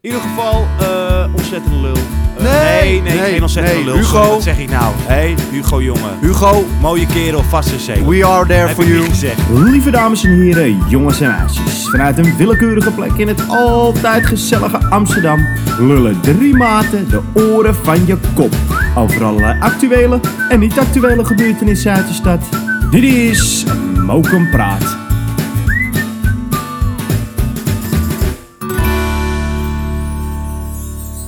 In ieder geval, eh ontzettende lul. Eh, Nee, nee, nee, nee, geen ontzettende nee, lul. Hugo. sorry, wat zeg ik nou? Hé, Hugo jongen. Hugo, Mooie kerel, vast en zeker. we are there Heb for ik niet you. gezegd. Lieve dames en heren, jongens en meisjes, vanuit een willekeurige plek in het altijd gezellige Amsterdam lullen drie maten de oren van je kop over allerlei actuele en niet-actuele gebeurtenissen uit de stad. Dit is Mokum Praat.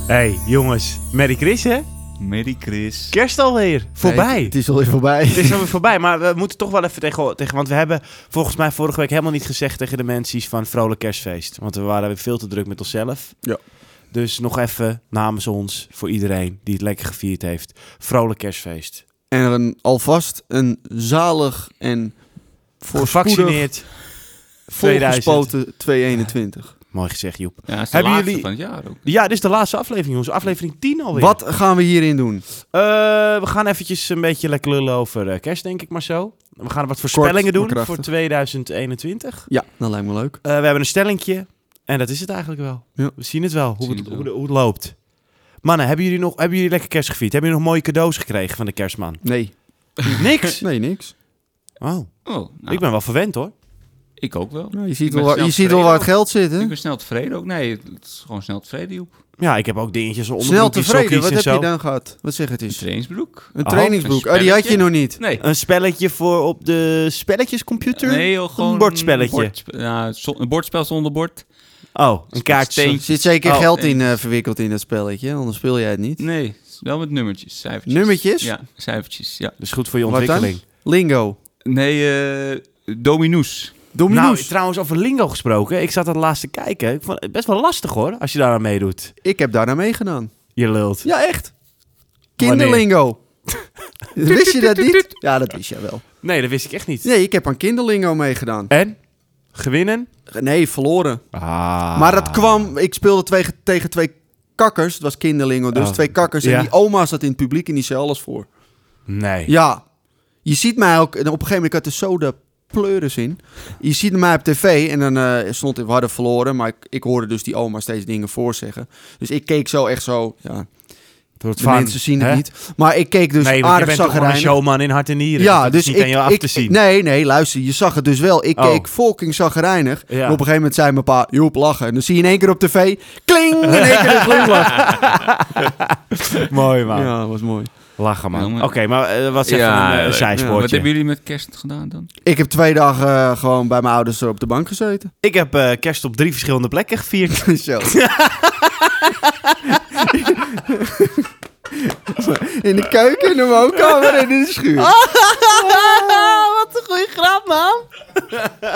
Hé, jongens. Merry Chris, hè? Merry Chris. Kerst alweer. Voorbij. Nee, het is alweer voorbij. Het is alweer voorbij, maar we moeten toch wel even tegen, tegen... Want we hebben volgens mij vorige week helemaal niet gezegd tegen de mensen iets van vrolijk kerstfeest. Want we waren weer veel te druk met onszelf. Ja. Dus nog even namens ons, voor iedereen die het lekker gevierd heeft. Vrolijk kerstfeest. En een, alvast een zalig en voorspoedig Gevaccineerd. 2000. volgespoten 221. Mooi gezegd, Joep. Ja, is de Hebben laatste jullie- van het jaar ook. Ja, dit is de laatste aflevering, jongens. Aflevering 10 alweer. Wat gaan we hierin doen? Eh, we gaan eventjes een beetje lekker lullen over eh, kerst, denk ik maar zo. We gaan wat voorspellingen maar doen krachtig. voor 2021. Ja, dat lijkt me leuk. Eh, we hebben een stellingje. En dat is het eigenlijk wel. Ja. We zien het wel, hoe, zien het, het wel. Hoe, de- hoe het loopt. Mannen, hebben jullie, nog, hebben jullie lekker kerst gevierd? Hebben jullie nog mooie cadeaus gekregen van de kerstman? Nee. Niks? Nee, niks. Oh, Oh, nou, ik ik, ben wel verwend hoor. ook wel. Nou, je Ik ziet, ben wel, waar- snel je ziet wel waar het tevreden geld zit, ook. hè? Ik ben snel tevreden ook. Nee, het is gewoon snel tevreden, Joep. Ja, ik heb ook dingetjes onder Snel tevreden. Wat en heb zo. je dan gehad? Wat zeg het Een eens? trainingsbroek. Een Oh, trainingsbroek. een Oh, die had je spelletje. nog niet. Nee. Een spelletje voor op de spelletjescomputer? Nee, joh, gewoon... Een bordspelletje. bordspe- nou, zo- een bordspel zonder bord. Oh, een kaartje. Steen. Er zit zeker Oh, geld en- in eh, verwikkeld in dat spelletje, anders speel jij het niet. Nee, wel met nummertjes, cijfertjes. Nummertjes? Ja, cijfertjes, ja. Dus goed voor je Wat dan? ontwikkeling. Lingo. Nee, eh dominoes. Dominoes. Nou, trouwens, over Lingo gesproken. Ik zat dat laatst te kijken. Ik vond het best wel lastig hoor, als je daar aan meedoet. ik heb daarna meegedaan. Je lult. Ja, echt. Kinderlingo. wist je dat niet? Ja, dat wist jij wel. Nee, dat wist ik echt niet. Nee, ik heb aan kinderlingo meegedaan. En? Gewinnen? Nee, verloren. Ah. Maar dat kwam... Ik speelde twee, tegen twee kakkers. Het was kinderlingo, dus Oh, twee kakkers. ja. En die oma zat in het publiek en die zei alles voor. Nee. Ja. Je ziet mij ook... En op een gegeven moment ik had de soda pleuris in. Je ziet mij op tv en dan eh, stond... We hadden verloren, maar ik, ik hoorde dus die oma steeds dingen voorzeggen. Dus ik keek zo echt zo... Ja, Door de mensen zien het niet. Maar ik keek dus nee, want je aardig bent toch gewoon een zagrijnig. showman in hart en nieren. Ja, Dat dus is niet ik, aan jou af ik- te zien. Nee, nee, luister, je zag het dus wel. Ik Oh. keek fucking zagrijnig. Ja. En Op een gegeven moment zei mijn pa, Joep, lachen. En dan zie je in één keer op tv, kling, in één keer een glimlach. Mooi man. Ja, was mooi. Lachen man. Ja, maar- Oké, maar eh, wat zeg je Ja, een eh, leuk. zijspoortje? Wat hebben jullie met kerst gedaan dan? Ik heb twee dagen eh, gewoon bij mijn ouders op de bank gezeten. Ik heb eh, kerst op drie verschillende plekken gevierd. Zo. in de keuken, in de woonkamer en in de schuur. Ah! Oh, wat een goede grap man.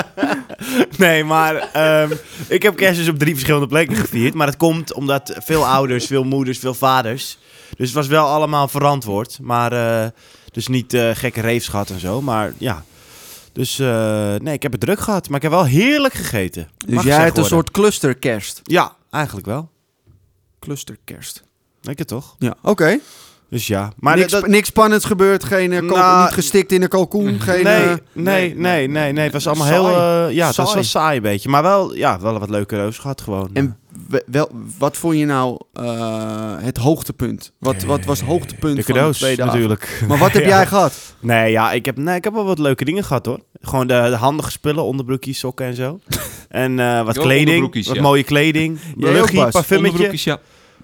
nee, maar ehm, ik heb kerst dus op drie verschillende plekken gevierd. Maar dat komt omdat veel ouders, veel moeders, veel vaders. Dus het was wel allemaal verantwoord. Maar eh, dus niet eh, gekke reefs gehad en zo. Maar ja. Dus eh, nee, ik heb het druk gehad. Maar ik heb wel heerlijk gegeten. Dus Mag jij gezegd hebt een worden. soort clusterkerst. Ja, eigenlijk wel. Clusterkerst. Ik het toch? Ja, oké. Dus ja. Maar niks, dat- niks spannends gebeurd, geen, eh, kalkoen- Nou, niet gestikt in een kalkoen, geen... nee, eh, nee, nee, nee, nee, Het was allemaal heel... Saai. eh, ja, het was Saai. wel saai een beetje. Maar wel, ja, wel wat leuke reus gehad gewoon. En we- wel, wat vond je nou eh, het hoogtepunt? Wat, wat was het hoogtepunt de van cadeaus de tweede avond? natuurlijk. Maar wat heb Ja. jij gehad? Nee, ja, ik heb, nee, ik heb wel wat leuke dingen gehad hoor. Gewoon de, de handige spullen, onderbroekjes, sokken en zo. En eh, wat Yo, kleding, onderbroekjes, wat ja. mooie kleding. Jij ook, Luchtje, Bas? parfummetje, Onderbroekjes, ja.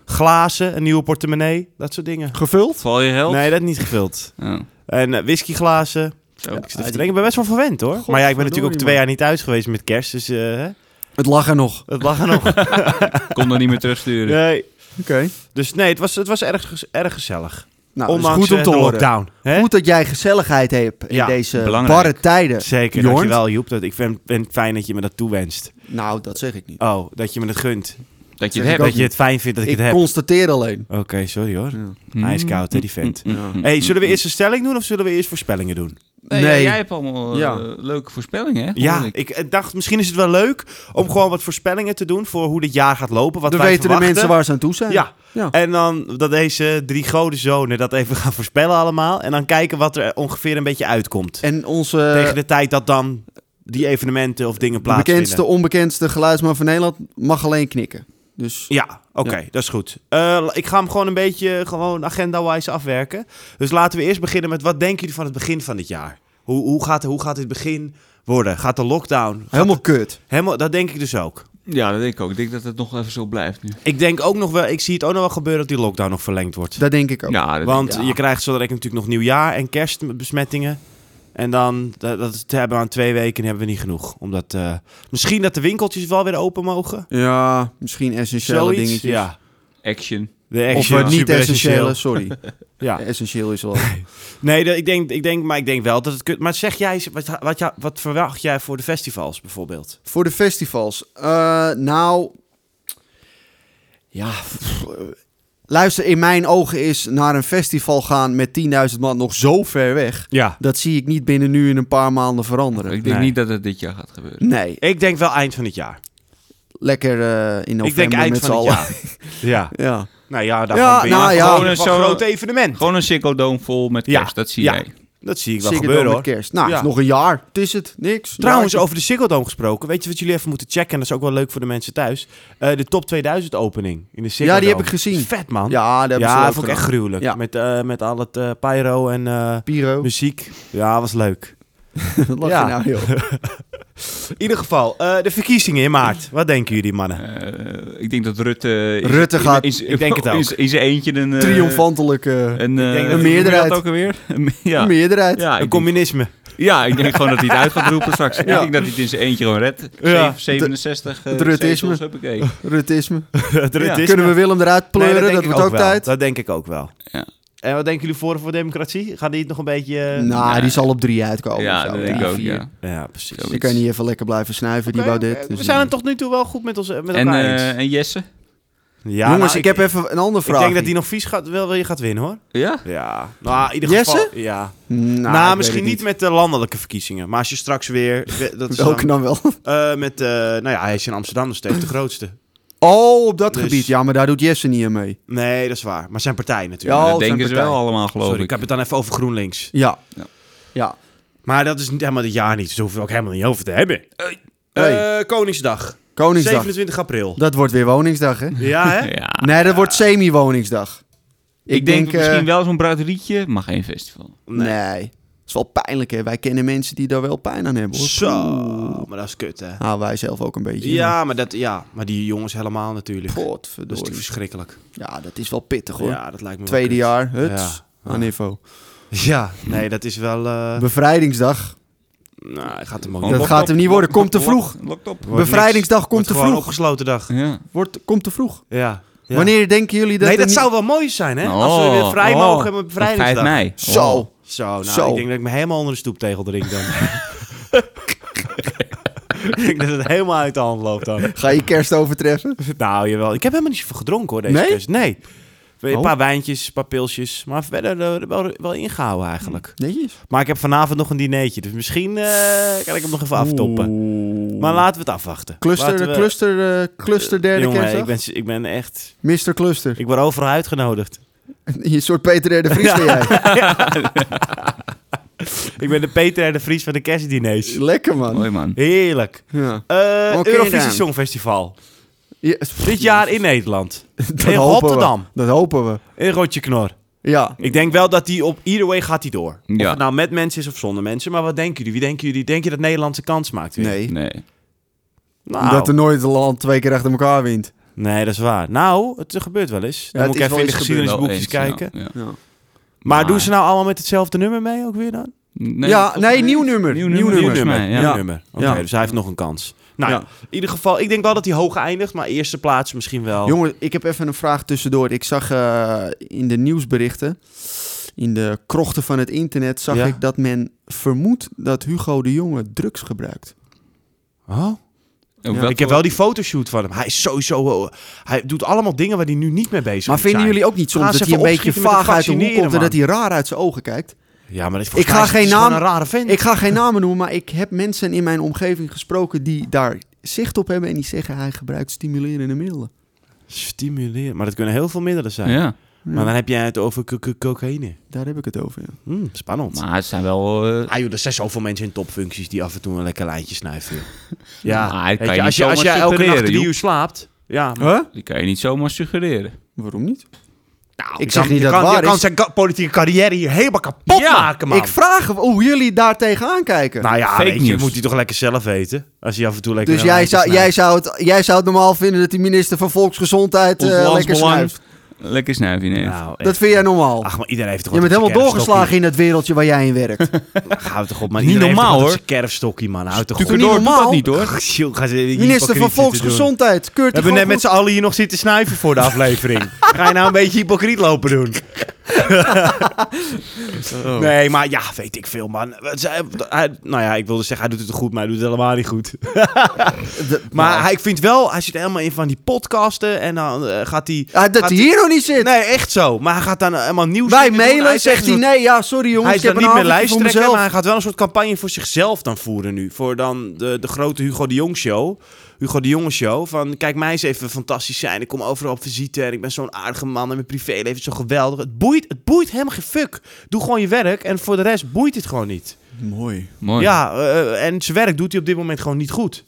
glazen, een nieuwe portemonnee. Dat soort dingen. Gevuld? Val je held? Nee, dat niet gevuld. Oh, En eh, whiskyglazen. Ik, zit zo. even te denken, ik ben best wel verwend hoor. Maar ja, ik ben natuurlijk ook Godverdorie, twee man. jaar niet thuis geweest met kerst. Dus eh, hè, Het lag er nog. het lag er nog. Ik kon er niet meer terugsturen. Nee. Oké. Dus nee, het was, het was erg, gez- erg gezellig. Nou, dat is Ondanks goed om eh, te de horen. lockdown. Hè? Goed dat jij gezelligheid hebt in Ja, deze belangrijk. barre tijden. Zeker, Jorn? dankjewel Joep. Dat, ik vind vind het fijn dat je me dat toewenst. Nou, dat zeg ik niet. Oh, dat je me het gunt. Dat Zeg je het ik hebt. ook. Dat je het fijn vindt dat ik, ik het heb. constateer alleen. Oké, sorry hoor. Mm. Hij is koud, hè, die vent. Mm, mm, Ja. mm, hey, mm, zullen we mm. eerst een stelling doen of zullen we eerst voorspellingen doen? Nee, Nee. Jij hebt allemaal eh, Ja. leuke voorspellingen, hè? Ja, Hoorde ik. ik eh, dacht misschien is het wel leuk om gewoon wat voorspellingen te doen voor hoe dit jaar gaat lopen. Wat Dan wij weten de verwachten. mensen waar ze aan toe zijn. Ja. Ja. En dan dat deze drie godenzonen dat even gaan voorspellen allemaal. En dan kijken wat er ongeveer een beetje uitkomt. En onze Tegen de tijd dat dan die evenementen of dingen Eh, de plaatsvinden. bekendste, onbekendste geluidsman van Nederland mag alleen knikken. Dus Ja, oké, dat is goed. Eh, ik ga hem gewoon een beetje eh, gewoon agenda-wise afwerken. Dus laten we eerst beginnen met wat denken jullie van het begin van dit jaar? Hoe, hoe, gaat, hoe gaat dit begin worden? Gaat de lockdown? helemaal kut. Helemaal, dat denk ik dus ook. Ja, dat denk ik ook. Ik denk dat het nog even zo blijft nu. Ik denk ook nog wel, ik zie het ook nog wel gebeuren dat die lockdown nog verlengd wordt. Dat denk ik ook. Ja, dat Want ja. je krijgt zo direct natuurlijk nog nieuwjaar en kerstbesmettingen. En dan, dat, dat te hebben we aan twee weken hebben we niet genoeg. Omdat, eh, misschien dat de winkeltjes wel weer open mogen. Ja, misschien essentiële Zoiets, dingetjes. ja. action. De Of action, eh, niet super essentiële, sorry. Ja. Essentieel is wel. Nee, dat- ik denk, ik denk, maar ik denk wel dat het kut... Maar zeg jij, eens, wat, wat, ja- wat verwacht jij voor de festivals bijvoorbeeld? Voor de festivals. Eh, nou. Ja. pff, eh, luister, in mijn ogen is naar een festival gaan met 10.000 man nog zo ver weg. Ja. Dat zie ik niet binnen nu in een paar maanden veranderen. Ik denk Nee. niet dat het dit jaar gaat gebeuren. Nee, Ik denk wel eind van het jaar. lekker eh, in november ik denk eind met van z'n het allen. jaar. ja. Ja. Nou ja, daar Ja, gaan we nou in. ja. Gewoon een Gewoon zo'n zo- groot evenement. Gewoon een sikkeldoom vol met Ja, kerst, dat zie ja. jij. Dat zie ik wel Ziggo Dome gebeuren met hoor. kerst. Nou, Ja. is nog een jaar. Het is het. Niks. Nou, Trouwens, Ja, over de Siggeldome gesproken. Weet je wat jullie even moeten checken? En dat is ook wel leuk voor de mensen thuis. Eh, de top 2000 opening in de Siggeldome. Ja, die heb ik gezien. Vet man. Ja, Ja, dat hebben ze dat leuk vond ik echt gedaan. gruwelijk. Ja. Met, eh, met al het eh, pyro en eh, Piro. muziek. Ja, was leuk. Wat lach Ja. je nou, joh? In ieder geval, eh, de verkiezingen in maart. Wat denken jullie mannen? Eh, ik denk dat Rutte... in- Rutte in- gaat- in- in- ik denk het ook. in zijn- In zijn eentje een... eh, Triomfantelijk. eh, Een, eh, denk dat- hoe noem je meerderheid. dat ook alweer? Een- ja. meerderheid. Ja, Een ik denk, communisme. ja, ik denk gewoon dat hij het uit gaat roepen straks. Ik Ja. denk dat hij het in zijn eentje gewoon redt. Ja. Zeven- 67 Het Ruttisme. Oh, zetels, huppakee. Rutisme. Het racisme. Kunnen we Willem eruit Nee, pleuren? denk dat ik wordt ook, wel. tijd. Dat denk ik ook wel. Ja. En wat denken jullie voor voor democratie? Gaan die het nog een beetje... eh, nou, nee. die zal op drie uitkomen. ja, of zo. dat denk ik Drie, ook, vier. ja. Ja, precies. Zo. Dan kan je niet even lekker blijven snuiven, die Oké, Baudet. eh, Dus we zijn dan- het tot nu toe wel goed met, ons, met En, elkaar eh, eens. en Jesse? Ja, Jongens, nou, ik, heb even een andere vraag. Ik denk dat die nog vies gaat, wel, wel je gaat winnen hoor. Ja? Ja. Nou, in ieder Jesse? geval. Ja. Nou, ik misschien weet het niet met de landelijke verkiezingen. Maar als je straks weer. we- Dat is dan, Welke dan wel? eh, met. eh, nou ja, hij is in Amsterdam dus steeds de grootste. Oh, op dat Dus- gebied. Ja, maar daar doet Jesse niet aan mee. Nee, dat is waar. Maar zijn partij natuurlijk. Ja, zijn dat denken ze partij. wel allemaal, geloof Sorry, ik ik. heb het dan even over GroenLinks. Ja. Ja. Ja. Maar dat is niet helemaal dit jaar niet. Dus daar hoeven we ook helemaal niet over te hebben. Hey. Eh, Koningsdag. Koningsdag. 27 april. Dat wordt weer woningsdag, hè? Ah, Ja, hè? Ja. Nee, dat wordt semi-woningsdag. Ik denk eh, misschien wel zo'n bruiderietje, maar geen Oh, festival. Nee. Nee. Dat is wel pijnlijk, hè? Wij kennen mensen die daar wel pijn aan hebben, hoor. Zo. Maar dat is kut, hè? Nou, wij zelf ook een beetje. Ja, maar, dat, ja, maar die jongens helemaal natuurlijk. dat is natuurlijk Godverdorie. verschrikkelijk. Ja, dat is wel pittig, hoor. Ja, dat lijkt me wel Tweede kut. jaar, huts. Ja. Ah. Aan info. Ja, nee, dat is wel... eh, Bevrijdingsdag. nou, ik ga hem ook Gewoon niet. Dat lokt gaat op, hem niet worden. lokt Komt te op, vroeg. lokt- Lokt op. Wordt Bevrijdingsdag komt Wordt te gewoon vroeg. opgesloten dag. Ja. Wordt, komt te vroeg. Ja. ja. Wanneer denken jullie dat nee, er dat niet- zou wel mooi zijn, hè? Als we weer vrij Oh, mogen oh. hebben op Op 5 bevrijdingsdag. mei. Zo. Oh. Zo, nou, Zo. ik denk dat ik me helemaal onder de stoeptegel drink dan. ik denk dat het helemaal uit de hand loopt dan. Ga je kerst overtreffen? Nou, jawel. Ik heb helemaal niet zoveel gedronken, hoor, deze Nee? kerst. Nee. Een Oh. paar wijntjes, een paar pilsjes. Maar verder eh, wel, wel ingehouden eigenlijk. Netjes. Maar ik heb vanavond nog een dinertje. Dus misschien eh, kan ik hem nog even aftoppen. Maar laten we het afwachten. Laten Cluster, we- cluster, eh, cluster derde Jongen, kerstdag? ik ben, ik ben echt... Mr. Cluster. Ik word overal uitgenodigd. Een soort Peter R. de Vries ben jij. Ik ben de Peter en de Vries van de kerstdiners. Lekker, man. Mooi man. Heerlijk. Ja. Eh Oké Eurovisie dan. Songfestival. Ja, Dit jaar in Nederland. dat in hopen we. Rotterdam. Dat hopen we. In Rotje Knor. Ja. Ik denk wel dat die op either way gaat die door. Of Ja. het nou met mensen is of zonder mensen. Maar wat denken jullie? Wie denken jullie? Denk je dat Nederland zijn kans maakt? weer? Nee. Nee. Nou, Dat er nooit een land twee keer achter elkaar wint. Nee, dat is waar. Nou, het gebeurt wel eens. Dan het moet ik is even wel in de eens Wel geschiedenisboekjes eens, kijken. ja, ja. Ja, Maar, Maar- doen ze nou allemaal met hetzelfde nummer mee ook weer dan? Nee, ja toch- nee, nieuw nummer. Nieuw nummer. volgens mij, ja. Nieuw nummer. Oké, Ja. dus hij heeft nog een kans. Nou, Ja. ja, in ieder geval, ik denk wel dat hij hoog eindigt, maar eerste plaats misschien wel. Jongen, ik heb even een vraag tussendoor. Ik zag eh, in de nieuwsberichten, in de krochten van het internet, zag Ja. ik dat men vermoedt dat Hugo de Jonge drugs gebruikt. Oh? Ook Ja. dat Ik heb wel die fotoshoot van hem. Hij is sowieso... eh, Hij doet allemaal dingen waar hij nu niet mee bezig is. Maar vinden jullie ook niet Gaan soms ze dat hij een even beetje opschieten met vaag het uit de hoek vaccineren, komt en dat hij raar uit zijn ogen kijkt? Ja, maar dat Ik ga geen naam- een rare vent. Ik ga geen namen noemen, maar ik heb mensen in mijn omgeving gesproken die daar zicht op hebben en die zeggen hij gebruikt stimulerende middelen. Stimuleren. Maar dat kunnen heel veel middelen zijn. Ja. Maar dan heb jij het over co- co- cocaïne. Daar heb ik het over. Ja. Hm, spannend. Maar het zijn wel... eh, Ah joh, er zijn zoveel mensen in topfuncties die af en toe een lekker lijntje snuiven. joh. ja, Maar het kan weet je als, niet je, als zomaar jij elke nacht separeren, drie joh. uur slaapt, Ja, Nou, maar- Huh? Die kan je niet zomaar suggereren. Waarom niet? Nou, Ik je zeg kan- niet je dat kan, het waar Je kan is. zijn ka- politieke carrière hier helemaal kapot Ja, maken, man. Ik vraag hoe jullie daar tegenaan kijken. nou ja, Fake weet je, news. moet hij toch lekker zelf weten. Als hij af en toe lekker... dus een jij lijntje zou, jij, snijdt. zou het, jij zou het normaal vinden dat die minister van Volksgezondheid eh, Ons lekker landsbelang. snuift. Lekker snuifje neemt. Nou, Oh, echt. Dat vind jij normaal. Ach, maar iedereen heeft toch je wat bent op zijn helemaal doorgeslagen in het wereldje waar jij in werkt. kerfstokkie. Ach, Hou toch op, maar Niet iedereen normaal, heeft toch wat op zijn kerfstokkie, man. Hou toch Tuurlijk op. niet door, doet normaal. dat niet hoor. Ach, joh, ga ze- die Minister van hypocriet zitten doen. Volksgezondheid. Keurt We hebben die net gewoon met z'n allen hier nog zitten snuiven voor de aflevering. Ga je nou een beetje hypocriet lopen doen? Nee, maar ja, weet ik veel, man. Het is- hij- nou ja, ik wilde zeggen, hij doet het goed, maar hij doet het helemaal niet goed. goed? De- Maar Nou, hij vindt wel, hij zit helemaal in van die podcasten en dan eh, gaat hij... ah, dat gaat hij hier nog niet zit. Nee, echt zo. Maar hij gaat dan eh, helemaal nieuws Wij dingen doen. mailen, is echt zegt hij een soort- nee. Ja, sorry jongens, Hij is ik heb dan een niet meer avondje voor lijsttrekker, mezelf. maar hij gaat wel een soort campagne voor zichzelf dan voeren nu. Voor dan de, de grote Hugo de Jong show. Hugo de Jonge show. Van kijk mij eens even fantastisch zijn. Ik kom overal op visite en ik ben zo'n aardige man en mijn privéleven is zo geweldig. Het boeit, het boeit helemaal geen fuck. Doe gewoon je werk en voor de rest boeit het gewoon niet. Mooi. Mooi. Ja, eh, en zijn werk doet hij op dit moment gewoon niet goed.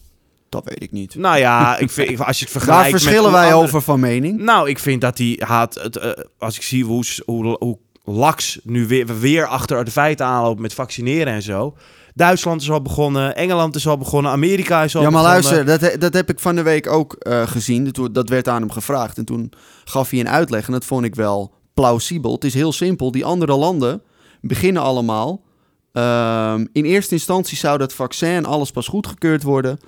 Dat weet ik niet. Nou ja, ik vind, ik- als je het vergelijkt Daar met verschillen hoe wij andere- over van mening. nou, ik vind dat hij haat. Het, eh, als ik zie hoe, s- hoe, hoe laks nu weer, we weer achter de feiten aanloopt met vaccineren en zo. Duitsland is al begonnen, Engeland is al begonnen, Amerika is al Ja, maar begonnen. luister, dat, he- dat heb ik van de week ook eh, gezien. Dat, dat werd aan hem gevraagd. En toen gaf hij een uitleg. En dat vond ik wel plausibel. Het is heel simpel. Die andere landen beginnen allemaal. ehm, in eerste instantie zou dat vaccin alles pas goedgekeurd worden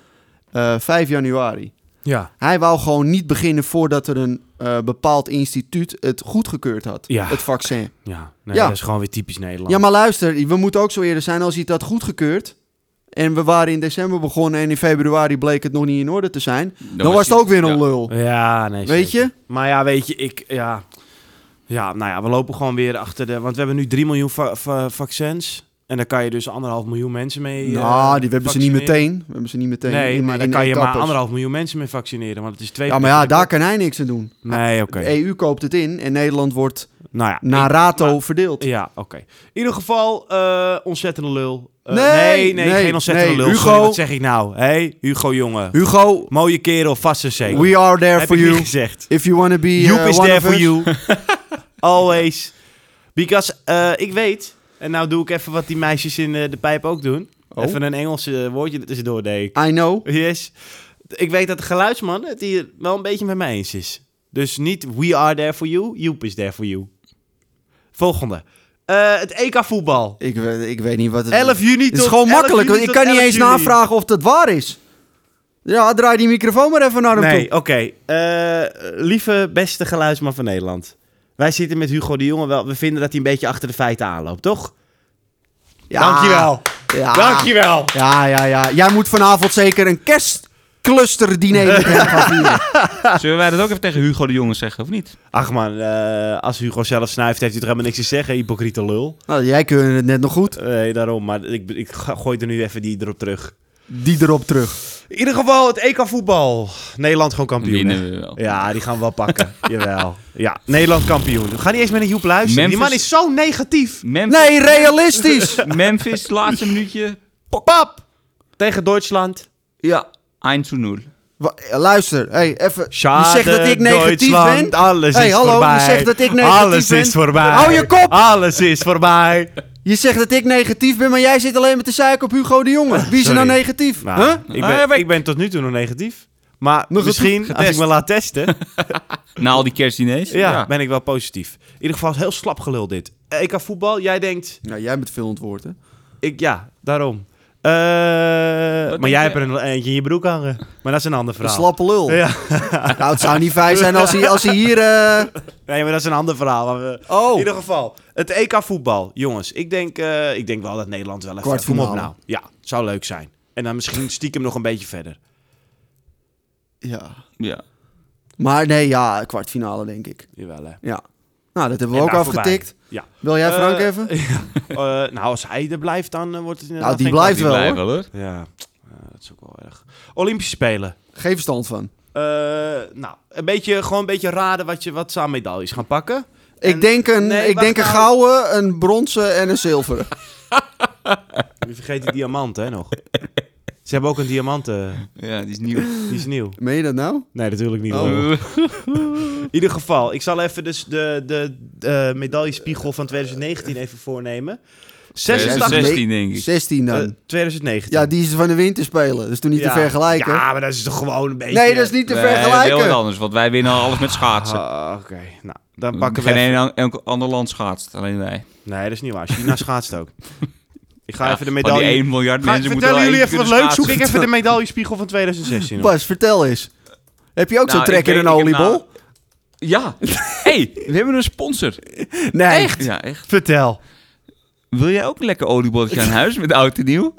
eh 5 januari. Ja. Hij wou gewoon niet beginnen voordat er een eh, bepaald instituut het goedgekeurd had. Ja. Het vaccin. Ja, nee, Ja. dat is gewoon weer typisch Nederland. Ja, maar luister, we moeten ook zo eerder zijn als hij het had goedgekeurd. En we waren in december begonnen en in februari bleek het nog niet in orde te zijn. Dan, was het ook weer een ja. lul. Ja, nee. Weet zeker. je? Maar ja, weet je, ik. Ja. ja, nou ja, we lopen gewoon weer achter de. Want we hebben nu 3 miljoen va- va- vaccins. En daar kan je dus anderhalf miljoen mensen mee. eh, nou, die we hebben ze niet vaccineren. meteen. We hebben ze niet meteen. Nee, in- maar in- dan in kan je maar etappes. anderhalf miljoen mensen mee vaccineren. Want het is twee. Ja, maar ja, daar kan hij niks aan doen. Nee, oké. De EU koopt het in en Nederland wordt Nou ja, naar rato verdeeld. Ja, oké. In ieder geval, eh, ontzettende lul. Eh, Nee, nee, nee, nee, geen ontzettende nee. lul. Hugo. Sorry, wat zeg ik nou? Hé, hey, Hugo jongen. Hugo, Mooie kerel, vast en zeker. we are there Heb for ik niet you. gezegd. If you want to be eh, Joep is one there of for us. you. Always. Because eh, ik weet, en nou doe ik even wat die meisjes in eh, de pijp ook doen. Oh. Even een Engels eh, woordje er tussendoor, deed ik. I know. Yes. Ik weet dat de geluidsman het hier wel een beetje met mij eens is. Dus niet we are there for you, Joep is there for you. Volgende. Eh, het EK voetbal. Ik, weet- ik weet niet wat het 11 juni tot Het is gewoon 11 makkelijk, juni want tot ik kan niet 11 eens juni. navragen of dat waar is. Ja, draai die microfoon maar even naar hem Nee, toe. oké. Eh, lieve beste geluidsman van Nederland. Wij zitten met Hugo de Jonge wel. We vinden dat hij een beetje achter de feiten aanloopt, toch? Ah. Ja, Dankjewel. Ja, Dankjewel. Ja, ja, ja. Jij moet vanavond zeker een kerstclusterdiner met hem gaan vieren. Zullen wij dat ook even tegen Hugo de Jonge zeggen, of niet? Ach man, eh, als Hugo zelf snuift, heeft hij er helemaal niks te zeggen. Hypocriete lul. Nou, jij kunt het net nog goed. Nee, daarom. Maar ik, ik gooi er nu even die erop terug. Die erop terug. In ieder geval het EK voetbal. Nederland gewoon Dan kampioen. hè? winnen we wel. Ja, die gaan we wel pakken. Jawel. Ja, Nederland kampioen. We gaan niet eens met een Joep luisteren. Die Memphis- man is zo negatief. Memphis, Nee, realistisch. Memphis, laatste minuutje. Pap! Tegen Duitsland. Ja. 1 zu 0. Wa- Luister, hey, even. Je Schade, zegt dat ik negatief Duitsland, ben. Alles Hey, is hallo, je voorbij. zegt dat ik negatief Alles ben. is voorbij. Hou je kop! Alles is voorbij. Je zegt dat ik negatief ben, maar jij zit alleen met de suiker op Hugo de Jonge. Wie is er nou Sorry. negatief? Nou, Huh? ik, ben, ik ben tot nu toe nog negatief. Maar misschien, als ik me laat testen, Na al die kerstdiners. ja, ben ik wel positief. In ieder geval is heel slap gelul dit. EK voetbal, jij denkt... Nou, jij bent veel antwoord, hè? Ik, ja, daarom. Eh, maar denk jij je? hebt er een eentje in je broek hangen. Maar dat is een ander Een verhaal. slappe lul. Ja. Nou, het zou niet fijn zijn als hij, als hij hier... eh, Nee, maar dat is een ander verhaal. Maar we- Oh. In ieder geval, het EK voetbal. Jongens, ik denk, eh, ik denk wel dat Nederland wel even... Kwartfinale. Kom op nou. Ja, zou leuk zijn. En dan misschien stiekem nog een beetje verder. Ja. Ja. Maar nee, ja, kwartfinale denk ik. Jawel, hè. Ja. Nou, dat hebben we En ook daar afgetikt. voorbij. Ja. Wil jij Frank Eh, even? Eh, nou, als hij er blijft, dan eh, wordt het inderdaad Nou, die geen blijft Die wel, blijven hoor. wel hoor. kwart- Ja, eh, dat is ook wel erg. Olympische Spelen. Geen verstand van. Eh, nou, een beetje, gewoon een beetje raden wat, je, wat ze aan medailles gaan pakken. En- Ik denk een, Nee, ik wacht denk een nou. gouden, een bronzen en een zilveren. Je vergeet die diamant, hè, nog. Ze hebben ook een diamant, eh, Ja, die is nieuw. die is nieuw. Meen je dat nou? Nee, natuurlijk niet. Oh. hoor. In ieder geval, ik zal even dus de, de, de eh, medaillespiegel van 2019 even voornemen. 86, 2016 denk ik. 16 dan. eh, 2019. ja, die is van de winterspelen. Dat is toen niet Ja. te vergelijken. Ja, maar dat is toch gewoon een beetje... nee, dat is niet te Nee, dat is heel vergelijken. wat anders, want wij winnen alles met schaatsen. Ah, Oké, nou, dan pakken Mm, Geen we... een, enkel ander land schaatst, alleen wij. Nee, dat is niet waar. China schaatst ook. Ik ga Ja, even de Van die medaille... 1 miljard Ga, mensen moeten vertellen wel jullie even eentje wat kunnen leuks. Zoek schaatsen. ik even de medaillespiegel van 2016 op. Bas, vertel eens. Heb je ook Nou, zo'n trek ik in weet- een ik heb oliebol? Ja. hey, we hebben een sponsor. nee. Ja, echt. Vertel. Wil jij ook een lekker oliebolletje aan huis met oud en nieuw?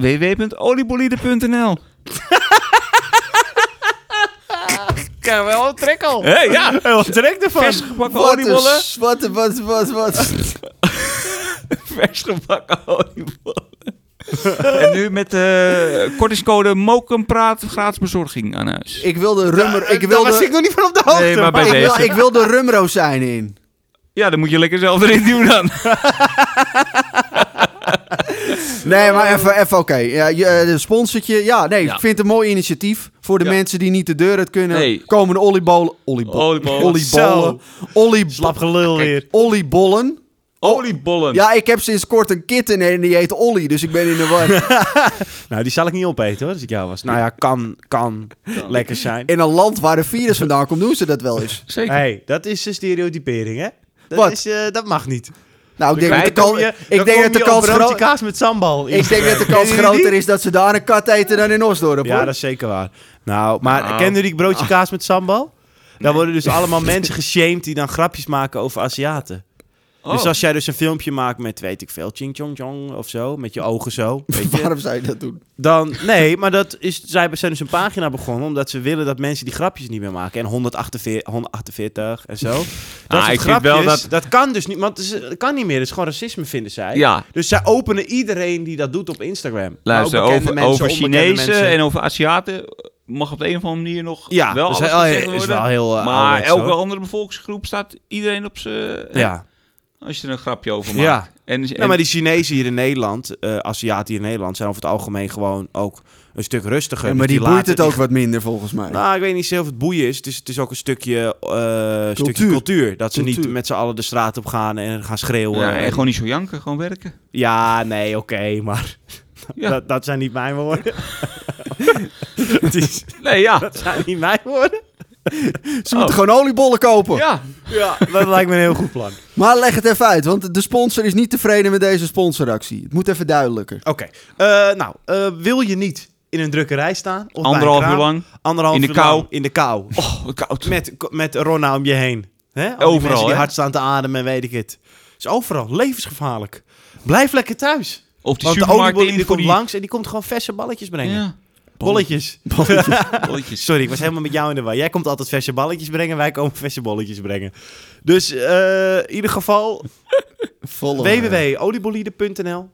www.oliebolide.nl Krijgen we wel een trek al. Hé, ja. Wat trek ervan? Vers gebakken Wat een... oliebollen. s- Wat een... Wat, wat, wat. Vers gebakken oliebollen. en nu met eh kortingscode Mokenpraat gratis bezorging aan huis. ik wil de rummer... Ik Daar wil was ik de... nog niet van op de hoogte. Nee, maar bij Ik wil, deze. ik wil de rumrozijn in. Ja, dan moet je lekker zelf erin doen dan. Nee, maar even, even oké. Ja, je, eh, de sponsortje. Ja, nee, Ja. ik vind het een mooi initiatief. Voor de Ja. mensen die niet de deur uit kunnen. Nee. Komen de oliebollen... Oliebollen. Oliebollen. Oliebollen. Slap Oliebollen. gelul weer. Oliebollen. Oliebollen. Oh. Ja, ik heb sinds kort een kitten en die heet Ollie, dus ik ben in de war. Nou, die zal ik niet opeten hoor, als ik jou was. Nou ja, kan, kan lekker zijn. In een land waar de virus vandaan komt, doen ze dat wel eens. Zeker. hey, dat is een stereotypering, hè? Dat, Wat? Is, eh, dat mag niet. Nou, ik denk dat de, Dan kom kans- je- dan ik denk kom dat de je kans op broodje groter kaas met sambal. ik denk dat de kans Kennen jullie groter die? is dat ze daar een kat eten dan in Osdorp. Ja, hoor. dat is zeker waar. Nou, Ah. maar Nou. kennen jullie broodje kaas met sambal? Daar worden dus allemaal mensen geshamed die dan grapjes maken over Aziaten. Oh. Dus als jij dus een filmpje maakt met, weet ik veel, ching chong chong of zo, met je ogen zo, weet je, Waarom zou je dat doen? dan, nee, maar dat is, zij zijn dus een pagina begonnen omdat ze willen dat mensen die grapjes niet meer maken. En 148, 148 en zo. Dat Ah, soort ik vind wel grapjes, dat- kan dus niet, want het, is- het kan niet meer. Het is gewoon racisme, vinden zij. Ja. Dus zij openen iedereen die dat doet op Instagram. Maar Luister, ook bekende over, mensen, over onbekende Chinezen mensen. en over Aziaten mag op de een of andere manier nog Ja, wel dat is alles wel- gezegd is worden. wel heel, eh, maar ouderwets, elke hoor. andere bevolkingsgroep staat iedereen op zijn... Ja. Als je er een grapje over maakt. ja. eh, En, Nou, maar die Chinezen hier in Nederland, eh Aziaten hier in Nederland, zijn over het algemeen gewoon ook een stuk rustiger. maar Dus die boeit laten- het ook wat minder volgens mij. Nou, ik weet niet zeker of het boeien is. Het is, het is ook een stukje, eh, stukje Cultuur. cultuur. Dat ze niet Cultuur. met z'n allen de straat op gaan en gaan schreeuwen. Ja, en en gewoon niet zo janken, gewoon werken. Ja, nee, oké, maar Ja. dat, dat zijn niet mijn woorden. Het is- Nee, ja. dat zijn niet mijn woorden. ze moeten gewoon oliebollen kopen. Ja. oh. Ja, dat lijkt me een heel goed plan. Maar leg het even uit, want de sponsor is niet tevreden met deze sponsoractie. Het moet even duidelijker. Oké, eh, nou, eh, wil je niet in een drukkerij staan? Of bij een Anderhalf kraam? uur lang. Anderhalf In de uur kou. lang in de kou. Oh, wat koud. Met, met Ronna om je heen. Hè? Al die Overal, mensen die hè? hard staan te ademen en weet ik het. Is overal levensgevaarlijk. Blijf lekker thuis. Of die Want de supermarkt oliebollen in die voor komt die... langs en die komt gewoon verse balletjes brengen. Ja, Bolletjes. bolletjes. Sorry, ik was helemaal met jou in de war. Jij komt altijd verse balletjes brengen, wij komen verse bolletjes brengen. Dus eh, in ieder geval Volle www.oliebolide.nl.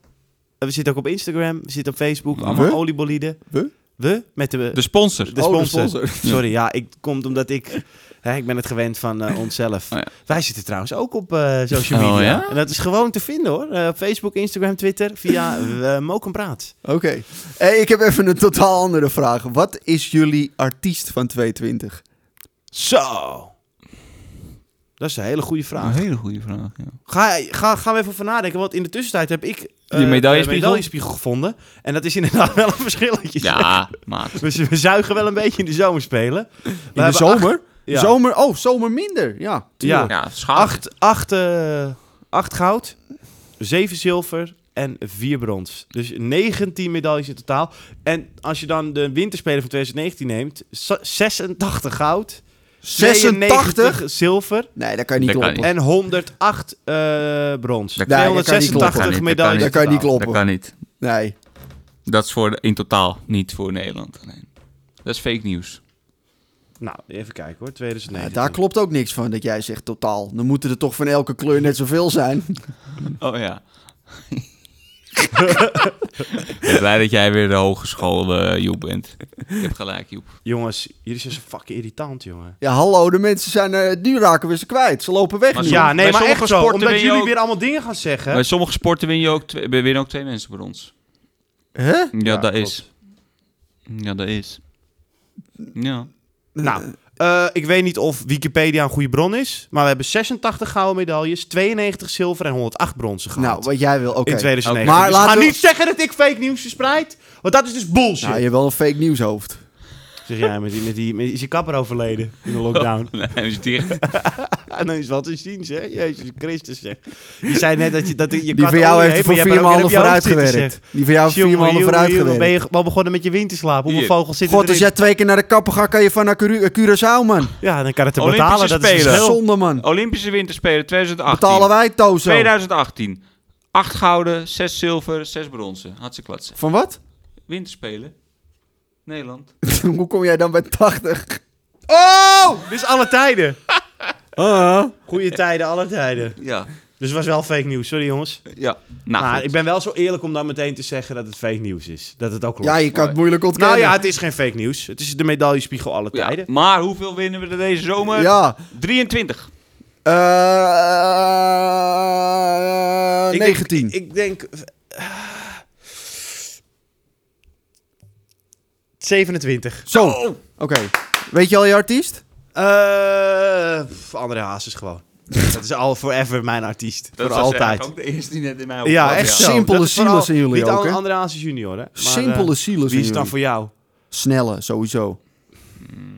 Eh, We zitten ook op Instagram, we zitten op Facebook, allemaal We? oliebolide. We? We? Met de, De sponsor. de Oh, de sponsor. sponsor. Sorry, ja, ik komt omdat ik. Hè, ik ben het gewend van eh, onszelf. Oh, ja. Wij zitten trouwens ook op eh, social Oh, media. ja? En dat is gewoon te vinden hoor. Eh, op Facebook, Instagram, Twitter, via uh, Mokenpraat. Oké. Eh, ik heb even een totaal andere vraag. Wat is jullie artiest van 220? Zo! Dat is een hele goede Oh, Een vraag. Mhm. hele goede vraag, ja. Ga, ga, gaan we even over nadenken, want in de tussentijd heb ik eh, Je de medaillespiegel? medaillespiegel gevonden. En dat is inderdaad wel een verschilletje. Ja, maat. We, we zuigen wel een beetje in de zomerspelen. We In de hebben zomer? Ja. Zomer? Oh, zomer minder. Ja. Ja. Ja, schaam. Acht, acht, eh, acht goud, zeven zilver en vier brons. Dus 19 medailles in totaal. En als je dan de winterspelen van 2019 neemt, zo- 86 goud, 86? 92 zilver Nee, dat kan je niet Dat kan kloppen. en niet. 108 eh brons. Dat kan- Nee, dat kan niet kloppen. Dat kan 286 niet, dat kan medailles. Dat kan je niet in totaal. Dat kloppen. kan niet. Nee. Dat is voor de- in totaal niet voor Nederland alleen. Dat is fake nieuws. Nou, even kijken hoor, Nou, 2019. daar klopt ook niks van dat jij zegt totaal. Dan moeten er toch van elke kleur net zoveel zijn. Oh ja. ik ben blij dat jij weer de hogeschool eh, Joep bent. Ik heb gelijk, Joep. Jongens, jullie zijn zo fucking irritant, jongen. Ja, hallo, de mensen zijn... eh, nu raken we ze kwijt. Ze lopen weg Maar nu. soms- Ja, nee, bij maar sommige echt zo. sporten Omdat ben je jullie ook- weer allemaal dingen gaan zeggen. Bij sommige sporten win je ook twee, winnen ook twee mensen bij ons. Hè? Ja, dat klopt. is. Ja, dat is. Ja. Nou, eh, ik weet niet of Wikipedia een goede bron is, maar we hebben 86 gouden medailles, 92 zilver en 108 bronzen gehad. Nou, wat jij wil, oké. In 2009. Oké. Maar dus ga laten we- niet zeggen dat ik fake nieuws verspreid, want dat is dus bullshit. Nou, je hebt wel een fake nieuws hoofd. Zeg jij, met die, met die, met- is je kapper overleden in de lockdown? Nee, dat is dicht. En dan is wat te zien, zeg. Jezus Christus, zeg. Je zei net dat je dat je kat Die van olie jou heeft er heeft, voor maar je vier hebt er ook maanden weer op je hoofd vooruit zitten, gewerkt. zeg. Die van jou heeft vier Jongen, maanden jongen, vooruit jongen, Ben gewerkt. je al begonnen met je winterslaap? Hoeveel Hier. vogels zitten God, dus als erin? jij twee keer naar de kapper gaat, kan je van naar Cura- Curaçao, man. Ja, dan kan het te Olympische betalen. Dat is Spelen. het verschil. Zonde, man. Olympische Winterspelen 2018. Betalen wij Tozo. 2018. 8 gouden, 6 zilver, 6 bronzen. Had ze klatsen. Van wat? Winterspelen. Nederland. Hoe kom jij dan bij 80? Oh, dus alle tijden. Ah. Goede tijden, alle tijden. Ja. Dus het was wel fake nieuws, sorry jongens. Ja. Nou, Maar goed. ik ben wel zo eerlijk om dan meteen te zeggen dat het fake nieuws is. Dat het ook klopt. Ja, je kan het moeilijk nou ontkennen. ja, het is geen fake nieuws. Het is de medaillespiegel alle Ja, tijden. Maar hoeveel winnen we er deze zomer? Ja. 23. Eh, Ik denk- 19. ik denk... eh, 27. Zo. Oh! Oké. Weet je al je artiest? Eh, pff, André Hazes gewoon. dat is al forever mijn artiest. Dat voor was altijd. eigenlijk ook de eerste die net in mij opkwam. Ja, echt zo. Simpele Dat is vooral- zielen zijn jullie Niet ook, hè? André Hazes junior, hè? Maar, eh, Simpele zielen Wie zijn is het dan jullie. voor jou? Snelle, sowieso.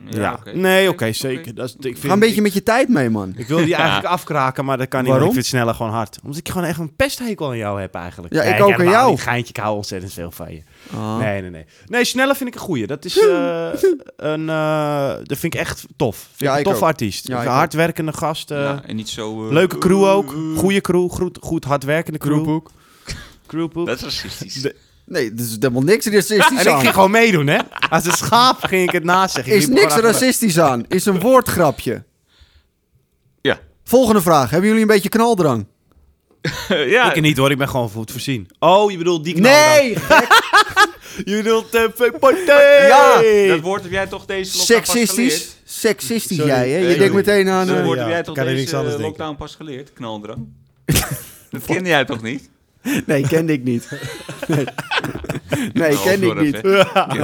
Ja, oké. Nee, oké, Oké. zeker. Dat is, ik vind, Ga een beetje ik, met je tijd mee, man. ik wil die eigenlijk afkraken, maar dat kan niet. want Waarom? Ik vind het sneller gewoon hard. Omdat ik gewoon echt een pesthekel aan jou heb eigenlijk. Ja, Nee, ik ook aan helemaal jou. niet. Geintje, ik hou ontzettend veel van je. Ah. Nee, nee, nee. Nee, sneller vind ik een goeie. Dat is eh, een... eh, dat vind ik echt tof. Vind Ja, ik ik een tof ook. artiest. Ja, Een ik ook. hardwerkende gast. eh, Ja, en niet zo... eh, Leuke crew ook. Goede crew. Goed, goed hardwerkende crew. Kroephoek. Crewpoep. Dat is racistisch. De- Nee, dat is helemaal niks racistisch En ik aan. ging gewoon meedoen, hè? Als een schaap ging ik het naast zeggen. Ik Is liep niks gewoon achter- racistisch aan. Is een woordgrapje. Ja. Volgende vraag. Hebben jullie een beetje knaldrang? ja. Ik niet hoor, ik ben gewoon goed voorzien. Oh, je bedoelt die knal Nee! dan. Je bedoelt eh, de party. Ja, Dat woord heb jij toch deze lockdown pas geleerd? Seksistisch. Seksistisch Sorry. jij, Nee, hè? Je denkt sorry. meteen aan... Dat eh, woord ja, heb jij toch kan er niks deze anders eh, denken. lockdown pas geleerd? Knaldrang. dat kende jij toch niet? Nee, kende ik niet. Nee, nee Nou, Oh, kende ik sorry, niet. hè.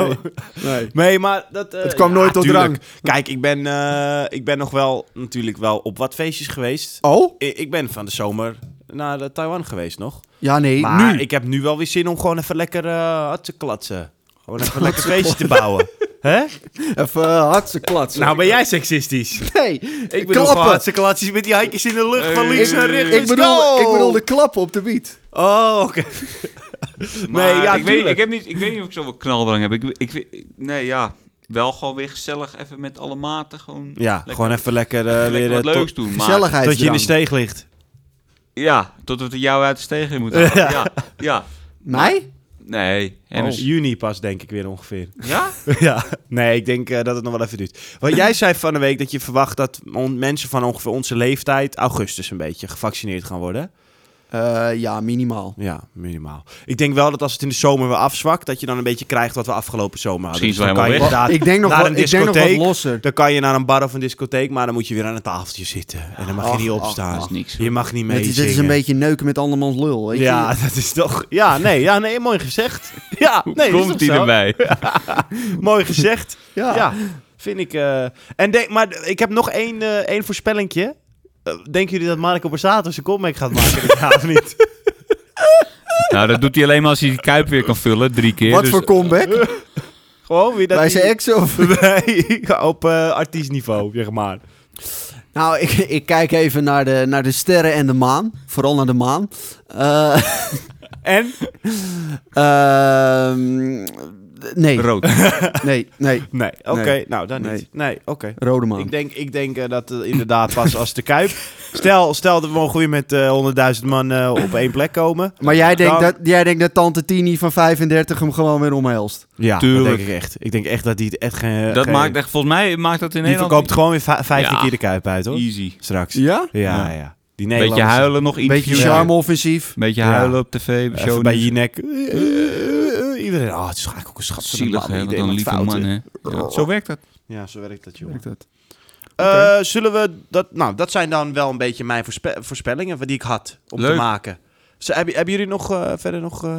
Nee. nee. Nee, maar dat... eh, Het kwam nooit tot tuurlijk. drang. Kijk, ik ben, eh, ik ben nog wel natuurlijk wel op wat feestjes geweest. Oh? I- Ik ben van de zomer naar eh, Taiwan geweest nog. Ja, nee, Maar nu. ik heb nu wel weer zin om gewoon even lekker eh, hard te klatsen. Gewoon even lekker feestje te bouwen. Hè? Even uh, hartse klats. Nou ben jij seksistisch. nee. Ik bedoel klappen. gewoon hartse klatsies met die handjes in de lucht van Hey. links naar ik, rechts. ik, Let's bedoel, go! ik bedoel de klappen op de beat. Oh, oké. Maar Nee, ja, ik, weet, tuurlijk. ik, heb niet, ik weet niet of ik zoveel knaldrang heb. Ik, ik, weet- nee, ja. Wel gewoon weer gezellig even met alle maten. Gewoon Ja, gewoon even lekker eh, weer lekker eh, wat tot, leuks doen. Maar, Gezelligheid. tot je in de steeg ligt. Ja, totdat we jou uit de steeg in moeten halen. Ja. ja. Mij? Nee. Oh. En dus- Juni pas, denk ik weer ongeveer. Ja? ja, nee, ik denk eh, dat het nog wel even duurt. Wat jij zei van de week, dat je verwacht dat on- mensen van ongeveer onze leeftijd, augustus een beetje, gevaccineerd gaan worden. Eh, ja, minimaal. Ja, minimaal. Ik denk wel dat als het in de zomer weer afzwakt, dat je dan een beetje krijgt wat we afgelopen zomer hadden. Dus Misschien is dan het wel kan je helemaal inderdaad Ik denk nog, naar wat, een ik denk nog wat discotheek. losser. Dan kan je naar een bar of een discotheek, maar dan moet je weer aan een tafeltje zitten. En dan mag Ach, je niet ach, opstaan. Dat is niks. Je mag niet mee Dit is, dit is een zingen. beetje neuken met andermans lul. Weet Ja, je? dat is toch... Ja, nee, ja, nee mooi gezegd. Ja, nee, is toch Komt hij zo? erbij? Mooi gezegd. ja. Ja, vind ik... eh, En denk, maar ik heb nog één, eh één voorspellingje. Eh, denken jullie dat Marco Borsato zijn comeback gaat maken? dit jaar of niet? nou, dat doet hij alleen maar als hij die kuip weer kan vullen. Drie keer. Wat dus- voor comeback? Gewoon weer dat Bij hij- zijn ex of? Nee, op eh artiestniveau, zeg maar. Nou, ik, ik kijk even naar de, naar de sterren en de maan. Vooral naar de maan. Eh, En? ehm, nee, Rood. nee, nee. Nee, oké. Nee. Nou, dan niet. Nee, oké. Rode maan. Ik denk, ik denk eh, dat het inderdaad pas als de Kuip... Stel, stel dat we mogen weer met eh 100.000 man eh, op één plek komen. Maar jij denkt, Dan- dat, jij denkt dat tante Tini van 35 hem gewoon weer omhelst. Ja, dat Tuurlijk. denk ik echt. Ik denk echt dat die het echt geen... Dat geen- maakt echt, volgens mij maakt dat Die in Nederland verkoopt gewoon weer vijf 15 Ja. keer de Kuip uit, hoor. easy. Straks. Ja, Ja? ja. Ja. Die Beetje Nederlandse. huilen nog interview. Beetje Ja. charme-offensief. Beetje Ja. huilen op tv. Even Show dus. bij nieuws. Jinek. eh, Iedereen, oh, het is eigenlijk ook een schat van een Zielig, man. hè? die Wat deed een wat lieve fouten. man, hè? Ja. Zo werkt dat. Ja, zo werkt dat, jongen. dat. Eh, zullen we dat... Nou, dat zijn dan wel een beetje mijn voorspe- voorspellingen die ik had om te Leuk. maken. Ze- hebben, hebben jullie nog eh, verder nog... eh,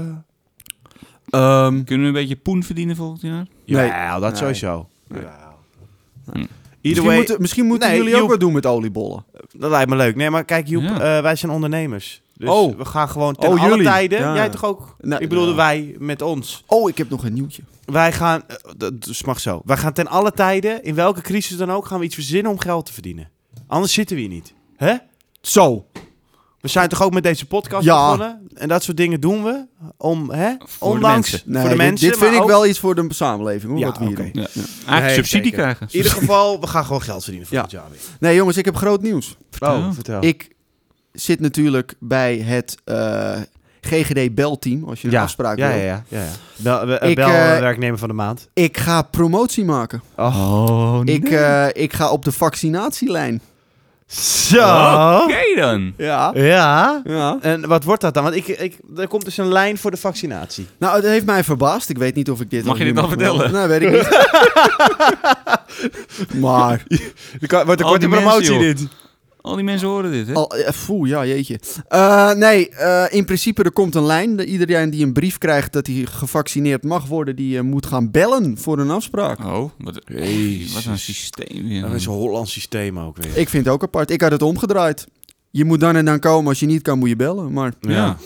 Ehm, Kunnen we een beetje poen verdienen volgend jaar? Nee. Ja, dat Nee. sowieso. Nee. Hm. Either misschien way, moeten, misschien moeten Nee, jullie ook Joep. wat doen met oliebollen. dat lijkt me leuk. Nee, maar kijk Joep, Ja. eh, wij zijn ondernemers. Dus Oh. we gaan gewoon ten Oh, alle jullie. tijden. Ja. Jij toch ook? Nou, Nee, ik bedoelde ja. wij met ons. Oh, ik heb nog een nieuwtje. Wij gaan, eh, dat dat mag zo. Wij gaan ten alle tijden, in welke crisis dan ook, gaan we iets verzinnen om geld te verdienen. Anders zitten we hier niet. Hè? Zo. We zijn toch ook met deze podcast Ja. begonnen? En dat soort dingen doen we om, hè? Voor de Ondanks, mensen. Nee, voor de dit- mensen. dit vind maar ik ook- wel iets voor de samenleving. Hoor, Ja, wat we hier oké. doen. Ja. Eigenlijk Nee, subsidie zeker. krijgen. In ieder geval, we gaan gewoon geld verdienen volgend jaar weer. Nee, jongens, ik heb groot nieuws. Vertel. vertel. Ik zit natuurlijk bij het eh, GGD belteam, als je een afspraak ja, wil. ja, ja, ja, ja. Bel, we- Ik, bel eh, werknemer van de maand. Ik ga promotie maken. Oh, nee. Ik, eh, ik ga op de vaccinatielijn. Zo. Oké dan. Ja. Ja. ja. En wat wordt dat dan? Want ik, ik, er komt dus een lijn voor de vaccinatie. Nou, het heeft mij verbaasd. Ik weet niet of ik dit... Mag of je niet dit dan melden. Nee, weet ik niet. maar... wordt een korte promotie dit. Al die mensen horen dit, hè? Al, eh, foe, ja, jeetje. Eh, nee, eh, in principe er komt een lijn. Iedereen die een brief krijgt dat hij gevaccineerd mag worden... die eh, moet gaan bellen voor een afspraak. Oh, wat, Jezus. wat een systeem weer. Dat is een Hollands systeem ook weer. Ik vind het ook apart. Ik had het omgedraaid. Je moet dan en dan komen. Als je niet kan, moet je bellen. Maar ja.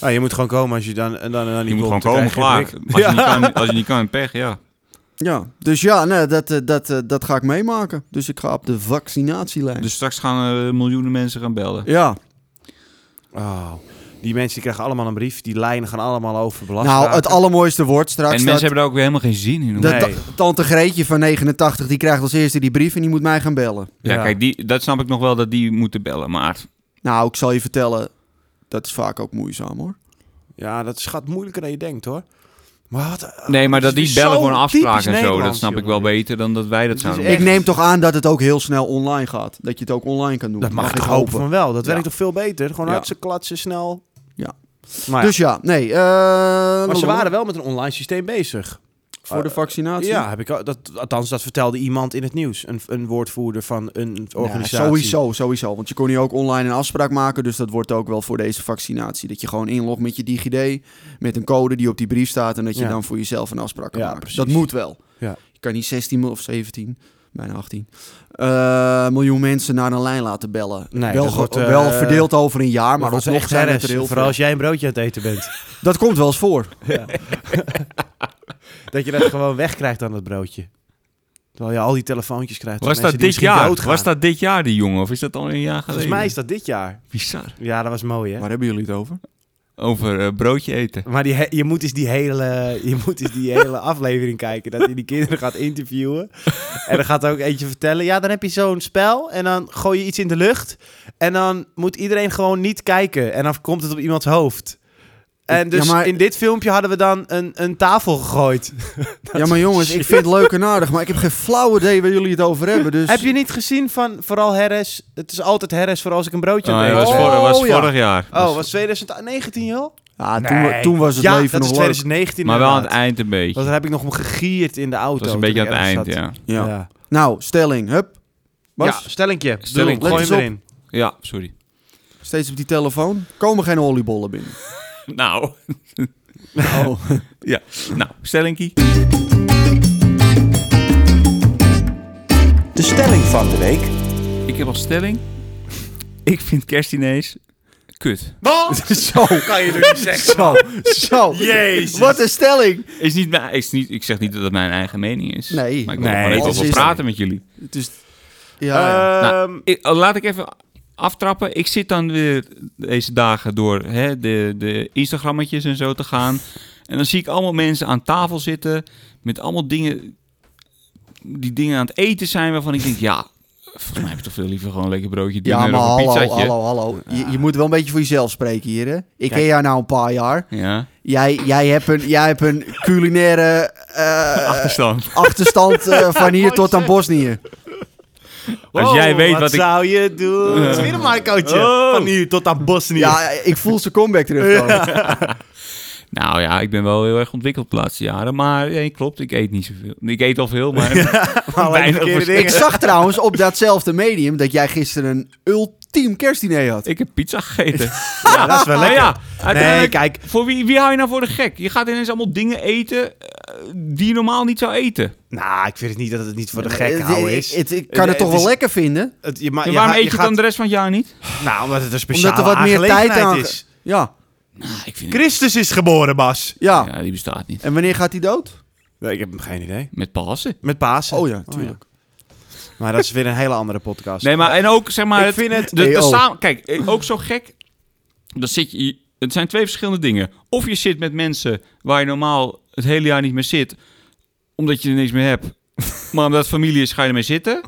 Ah, je moet gewoon komen als je dan, en dan, en dan niet Je moet gewoon komt, komen, dan klaar. krijg Als je je, een prik. niet kan, als je niet kan, pech, ja. ja, dus ja, nee, dat, eh, dat, eh, dat ga ik meemaken. Dus ik ga op de vaccinatielijn. Dus straks gaan eh, miljoenen mensen gaan bellen. ja, Oh. Die mensen die krijgen allemaal een brief. Die lijnen gaan allemaal over belast. nou, het allermooiste wordt straks... en dat- mensen hebben daar ook weer helemaal geen zin in. hoor. Dat Nee. ta- tante Greetje van 89, die krijgt als eerste die brief en die moet mij gaan bellen. Ja, Ja. kijk, die, dat snap ik nog wel dat die moeten bellen. Maar Nou, ik zal je vertellen, dat is vaak ook moeizaam hoor. Ja, dat gaat moeilijker dan je denkt hoor. Maar wat, Nee, maar Eh, Het dat die is dus bellen zo voor een afspraak typisch en zo, dat Nederlands, snap ik wel jongen. beter dan dat wij dat Het is zouden echt- doen. Dus Ik neem toch aan dat het ook heel snel online gaat. Dat je het ook online kan doen. dat mag ik ik hopen van wel. Dat Ja. werkt toch veel beter? Gewoon Ja. uit ze klatsen, snel. Ja. Maar, ja. Dus ja, nee. eh, maar ze waren wel met een online systeem bezig. Voor de vaccinatie? Ja, heb ik al, dat, althans, dat vertelde iemand in het nieuws. Een, een woordvoerder van een Ja, organisatie. Nou, sowieso, sowieso. Want je kon nu ook online een afspraak maken. Dus dat wordt ook wel voor deze vaccinatie. Dat je gewoon inlogt met je DigiD. Met een code die op die brief staat. En dat je Ja. dan voor jezelf een afspraak kan Ja, maken. precies. Dat moet wel. Ja. Je kan niet 16 mil- of 17, bijna 18 eh, miljoen mensen naar een lijn laten bellen. Nee, wel, dat ge- wordt, eh, wel verdeeld over een jaar. Maar Maar dat is alsnog echt zijn het er herres. heel Vooral veel. als jij een broodje aan het eten bent. Dat komt wel eens voor. dat je dat gewoon wegkrijgt aan dat broodje. Terwijl je al die telefoontjes krijgt. van Was dat mensen die dit misschien jaar? doodgaan. Was dat dit jaar die jongen? Of is dat al een jaar geleden? Volgens mij is dat dit jaar. bizar. Ja, dat was mooi, hè? Maar, Waar hebben jullie het over? Over eh, broodje eten. die he- je moet eens die hele, je moet eens die hele aflevering kijken. Dat hij die kinderen gaat interviewen. en dan gaat er ook eentje vertellen. Ja, dan heb je zo'n spel. En dan gooi je iets in de lucht. En dan moet iedereen gewoon niet kijken. En dan komt het op iemands hoofd. En dus Ja, maar- in dit filmpje hadden we dan een, een tafel gegooid. ja, maar jongens, ik vind het leuk en aardig. Maar ik heb geen flauw idee waar jullie het over hebben. Dus... Heb je niet gezien van vooral Harris? Het is altijd Harris, vooral als ik een broodje aan Ah, het ja, eten was, ben. vor- was Oh, ja. vorig jaar. Oh, was 2019 joh? Ja, Ah, toen, toen was het ja, dat leven nog is leuk. 2019 maar wel aan het inderdaad. eind een beetje. Want daar heb ik nog om gegierd in de auto. Dat was een toen beetje aan ik het eind, ergens zat. ja. Ja. Ja. Nou, stelling. Hup. Ja, Bas, stellingje. Stelling. Doe, gooi Let hem eens erin. Ja, sorry. steeds op die telefoon. Komen geen oliebollen binnen. Nou, Oh. ja. Nou, stellingkie. De stelling van de week. Ik heb als stelling... Ik vind kerstdiners kut. Wat? zo, kan je toch niet zeggen? zo, zo. Jezus. Wat een stelling. Is niet, mijn- is niet, ik zeg niet dat het mijn eigen mening is. Nee. Maar ik wil Nee, er het gewoon even is- over praten met jullie. Dus, ja, Eh, ja. Nou, Ik- oh, laat ik even aftrappen. Ik zit dan weer deze dagen door hè, de, de Instagrammetjes en zo te gaan. En dan zie ik allemaal mensen aan tafel zitten met allemaal dingen die dingen aan het eten zijn waarvan ik denk, ja, volgens mij heb ik toch veel liever gewoon een lekker broodje Ja, diner maar of een hallo, pizzaatje. hallo, hallo. Je, je moet wel een beetje voor jezelf spreken hier, hè? Ik ken jou nou een paar jaar. Ja, Jij, jij, hebt, een, jij hebt een culinaire eh, achterstand. achterstand eh, van hier tot aan Bosnië. Als jij weet wat ik- zou je doen? Het is weer een Marcootje. Oh. Van hier tot aan Bosnië. Ja, ik voel zijn comeback terugkomen. Nou ja, ik ben wel heel erg ontwikkeld de laatste jaren, maar nee, klopt, ik eet niet zoveel. Ik eet al veel, maar Alleen weinig verkeerde vers- dingen. Ik zag trouwens op datzelfde medium dat jij gisteren een ultra team kerstdiner had. Ik heb pizza gegeten. Ja, dat is wel Maar lekker. ja, nee, uiteindelijk, kijk. voor wie, wie hou je nou voor de gek? Je gaat ineens allemaal dingen eten eh, die je normaal niet zou eten. Nou, ik vind het niet dat het niet voor de Eh, gek eh, houden is. Ik, ik- ik kan Het- het toch het is- wel lekker vinden. Het, je, ma- En je gaat- waarom eet je je het gaat- dan de rest van het jaar niet? Nou, omdat het een speciale Omdat er wat meer tijd aan... is. Ja, Ah, ik vind Christus is geboren, Bas. ja. Ja, die bestaat niet. En wanneer gaat hij dood? ik heb geen idee. Met Pasen. Met Pasen. Oh ja, tuurlijk. Maar dat is weer een hele andere podcast. Nee, maar en ook zeg maar. Ik het- vind het- de, de Hey, oh. samen- kijk, eh, ook zo gek. Dan zit je. Het zijn twee verschillende dingen. Of je zit met mensen waar je normaal het hele jaar niet meer zit, omdat je er niks meer hebt. Maar omdat het familie is, ga je ermee zitten.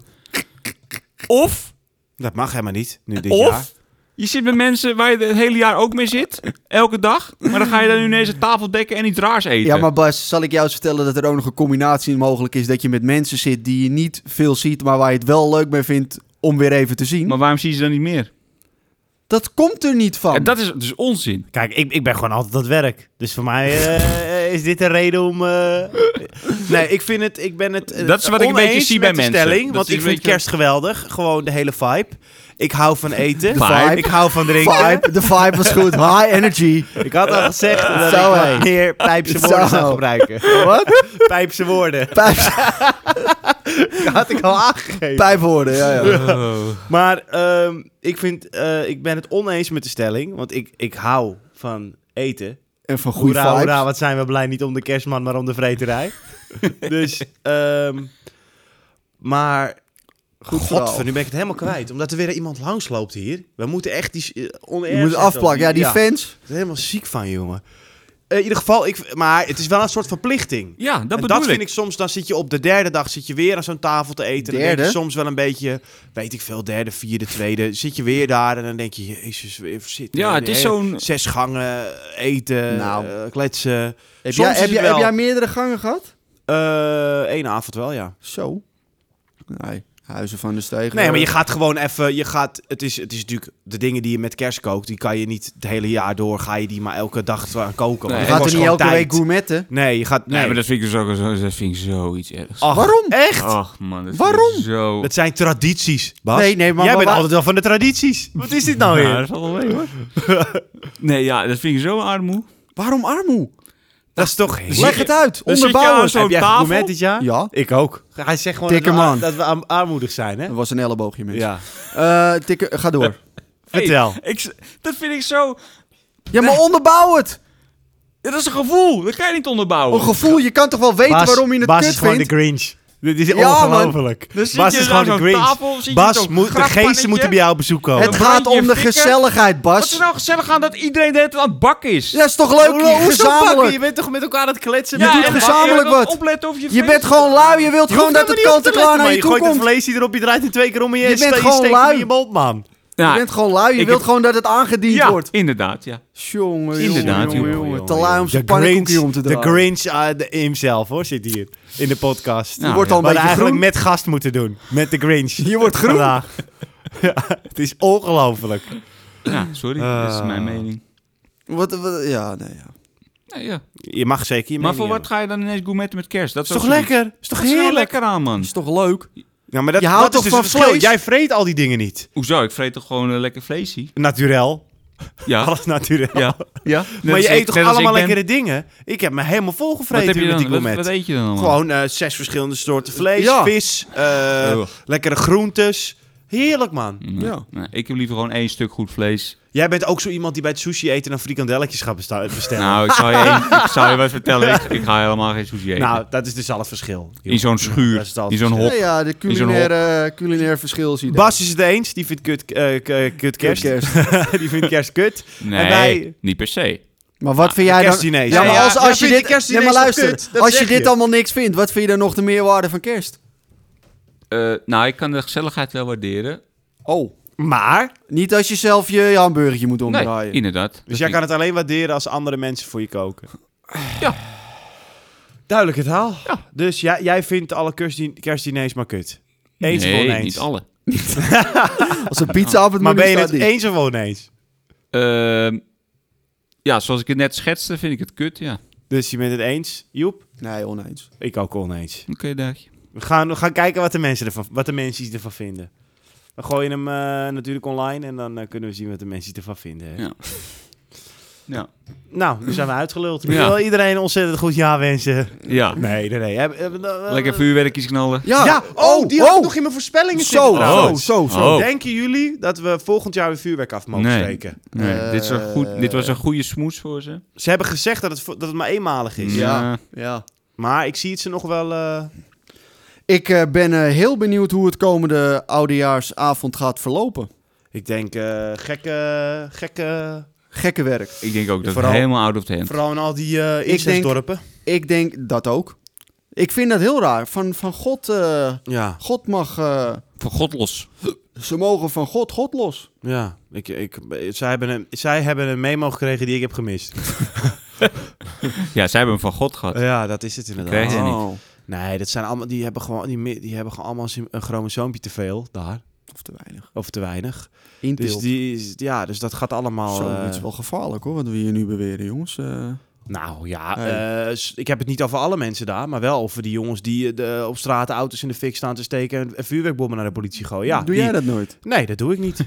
Of, Dat mag helemaal niet, nu dit jaar. of je zit met mensen waar je het hele jaar ook mee zit, elke dag. Maar dan ga je dan nu ineens een tafel dekken en iets raars eten. Ja, maar Bas, zal ik jou eens vertellen dat er ook nog een combinatie mogelijk is... dat je met mensen zit die je niet veel ziet... maar waar je het wel leuk mee vindt om weer even te zien? Maar waarom zie je ze dan niet meer? Dat komt er niet Oh. van. En dat is dus onzin. Kijk, ik, ik ben gewoon altijd aan het werk. Dus voor mij eh, is dit een reden om... eh, Nee, ik vind het... Ik ben het eh, Dat is wat ik een beetje oneens zie met bij de mensen. Stelling, Dat want is ik een vind beetje- kerst geweldig. Gewoon de hele vibe. Ik hou van eten. De vibe. Ik hou van drinken. Vibe, de vibe was goed. High energy. Ik had al gezegd dat Zo, ik hé. wat meer pijpse Zo. woorden zou gebruiken. Wat? Pijpse woorden. Pijp, Dat had ik al aangegeven. pijpwoorden, ja, ja. Maar ehm, ik, vind, eh, ik ben het oneens met de stelling. Want ik, ik hou van eten. En van goede Hoera, hoera, vibes. wat zijn we blij. Niet om de kerstman, maar om de vreterij. dus, ehm, maar... Goed verhaal. Godver, nu ben ik het helemaal kwijt. Omdat er weer iemand langsloopt hier. We moeten echt die... eh, Je on-air moet het zetten. afplakken. Ja, die fans. Ik ben helemaal ziek van, jongen. Eh, in ieder geval, ik, maar het is wel een soort verplichting. Ja, dat en bedoel dat ik. vind ik soms, dan zit je op de derde dag zit je weer aan zo'n tafel te eten. Dan denk Derde? je soms wel een beetje, weet ik veel, derde, vierde, tweede. Zit je weer daar en dan denk je, jezus, weer zitten. Ja, we het de is hele- zo'n- Zes gangen, eten, Nou. eh, kletsen. Heb Soms jij, is heb, het jij, wel- heb jij meerdere gangen gehad? Eén Eh, avond wel, ja. Zo. Nee, Huizen van de Stegen. Nee, maar je gaat gewoon even, je gaat, het is, het is natuurlijk, de dingen die je met kerst kookt, die kan je niet het hele jaar door, ga je die maar elke dag aan koken. Nee. want het Je gaat kost er niet gewoon elke tijd. week gourmetten. Nee, je gaat, Nee, nee. maar dat vind ik dus ook zo, dat vind ik zoiets ergs. Ach, Oh. Waarom? Echt? Ach man, dat Waarom? Vind ik zo... Dat zijn tradities, Bas. Nee, nee, Jij maar- maar bent waar- altijd wel van de tradities. Wat is dit nou Ja, weer? dat valt wel mee hoor. nee, ja, dat vind ik zo armoe. Waarom armoe? Dat is toch... heel- Leg het uit. Dan zit je aan Onderbouwen. zo'n Heb jij tafel. gegourmet dit jaar? Ja. Ik ook. Hij zegt gewoon Dikke dat, we ar- man. dat we arm- armoedig zijn, hè? Dat was een elleboogje, mensen. Ja. Eh, tikke- ga door. Hey, Vertel. ik, s- dat vind ik zo... Ja, maar onderbouw het. Dat is een gevoel. Dat kan je niet onderbouwen. Een gevoel. Je kan toch wel weten Bas, waarom je het Bas kut is gewoon vindt? de Grinch. Dit is man. ongelooflijk. Dan zit Bas je is gewoon daar de zo'n Grinch. tafel, zit je Bas, zo'n moet, de grafpannetje. geesten moeten bij jou op bezoek komen. Het gaat om de fikken. gezelligheid, Wat is Bas. er nou gezellig aan dat iedereen de hele tijd aan het bakken is? Ja, is toch Oh, leuk? Gezamenlijk. Je bent toch met elkaar aan het kletsen? Je Ja, doet en- en- gezamenlijk en dan wat. opletten of je Je feest- bent gewoon lui, je wilt gewoon dat het kant en klaar naar je toe gooit het komt. vlees erop, je draait het twee keer om en je, Je bent steekt- gewoon steekt hem lui. in je mond, man. Ja, Je bent gewoon lui, je Ik wilt heb- gewoon dat het aangediend ja, wordt. inderdaad, ja. Jongen, Inderdaad, jongen, jongen, jongen, jongen, Te lui om De zijn pannenkoekje om Grinch, te de draaien. Grinch uh, de- himself, hoor, zit hier in de podcast. Nou, je wordt ja. al We hadden een beetje eigenlijk groen. met gast moeten doen. Met de Grinch. Je wordt groen. Vandaag. ja, het is ongelooflijk. Ja, sorry. dat is mijn mening. Wat, wat, ja, nee, ja. Nee, ja. Je mag zeker je Maar mening voor wat hebben. ga je dan ineens gourmetten met kerst? Dat Is toch ook zoiets. lekker? Is toch Dat is heel heerlijk? lekker aan, man. Is toch leuk? Ja, maar dat, Je houdt dat toch is dus van het verschil. vlees? Jij vreet al die dingen niet. Hoezo? Ik vreet toch gewoon eh, lekker vleesie? Naturel. Ja. Alles naturel. Ja. dus ja. Maar je eet toch allemaal lekker. lekkere dingen? Ik heb me helemaal Wat, volgevreten heb je met die dan? Wat, gourmet. wat eet je dan allemaal? Gewoon eh, zes verschillende soorten vlees, Ja. vis, eh, Ugh. lekkere groentes. Heerlijk, man. Nee, Ja. nee, ik heb liever gewoon één stuk goed vlees. Jij bent ook zo iemand die bij het sushi eten dan frikandelletjes gaat besta- bestellen. Nou, ik zou je, één- ik zou je wat vertellen. Ik, ik ga helemaal geen sushi eten. Nou, dat is dus al het verschil. in zo'n schuur, dat is het in altijd. zo'n Ja, hok. ja, de zo'n culinaire, culinaire verschil zie je Bas is het eens, die vindt kut, eh, k- kut daar. kerst. die vindt kerst kut. Nee, En wij- niet per se. Maar wat vind jij dan... kerstdiner. Ja, maar Ja, als, ja, als jij vindt je dit... de kerstdiner Ja, maar is toch luister. kut? Dat als je zeg dit je. allemaal niks vindt, wat vind je dan nog de meerwaarde van kerst? Eh, nou, ik kan de gezelligheid wel waarderen. Oh. Maar, Niet als je zelf je, je hamburgertje moet Nee, omdraaien. inderdaad. dus Dat jij vind kan het alleen waarderen als andere mensen voor je koken. Ja. Duidelijk het haal. Ja. Dus jij, jij vindt alle kerstdin- kerstdiners maar kut. ik- Eens of nee, oneens? niet alle. Als een pizza op het Maar menu ben je staat het niet. eens of oneens? Ehm, ja, zoals ik het net schetste, vind ik het kut, ja. Dus je bent het eens, Joep? Nee, oneens. Ik ook oneens. Oké, daagje. We gaan, we gaan kijken wat de mensen ervan, wat de mensen ervan vinden. We gooien hem eh, natuurlijk online en dan eh, kunnen we zien wat de mensen ervan vinden. hè. Ja. Ja. Nou, nu zijn we uitgeluld. Ik Ja. wil iedereen een ontzettend goed jaar wensen. ja. Nee, nee, nee. Heb- heb- eh, Lekker vuurwerkjes knallen. Ja, Ja, oh, die had ik nog in mijn voorspellingen Zo, zitten. zo, Oh. zo, zo. Oh. eh, Denken jullie dat we volgend jaar weer vuurwerk af mogen Nee. steken? Nee, Eh, dit, is een goed, dit was een goede smoes voor ze. Ze hebben gezegd dat het, vo- dat het maar eenmalig is. Ja. ja. Maar ik zie het ze nog wel... eh, Ik eh, ben eh, heel benieuwd hoe het komende oudejaarsavond gaat verlopen. ik denk eh, gekke... gekke Gekke werk. Ik denk ook dat Vooral- het helemaal out of the hand. vooral in al die eh denk- incestdorpen. Ik denk dat ook. Ik vind dat heel raar. Van, van God, eh, Ja, God mag... eh, Van God los. ze mogen van God God los. ja. Ik, ik, zij, hebben een, zij hebben een memo gekregen die ik heb gemist. Ja, zij hebben hem van God gehad. Ja, dat is het Krijg inderdaad. je- Oh. Nee, dat zijn allemaal, die, hebben gewoon, die, mi- die hebben gewoon allemaal een chromosoompje te veel daar. Of te weinig. Of te weinig. Intilt. Dus, die, is- ja, dus dat gaat allemaal... Zo, eh, dit is wel gevaarlijk hoor, wat we hier nu beweren, jongens. Eh, Nou ja, Hey. eh, s- ik heb het niet over alle mensen daar, maar wel over die jongens die eh, de, op straat auto's in de fik staan te steken en, en vuurwerkbommen naar de politie gooien. Ja, Doe die- jij dat nooit? Nee, dat doe ik niet.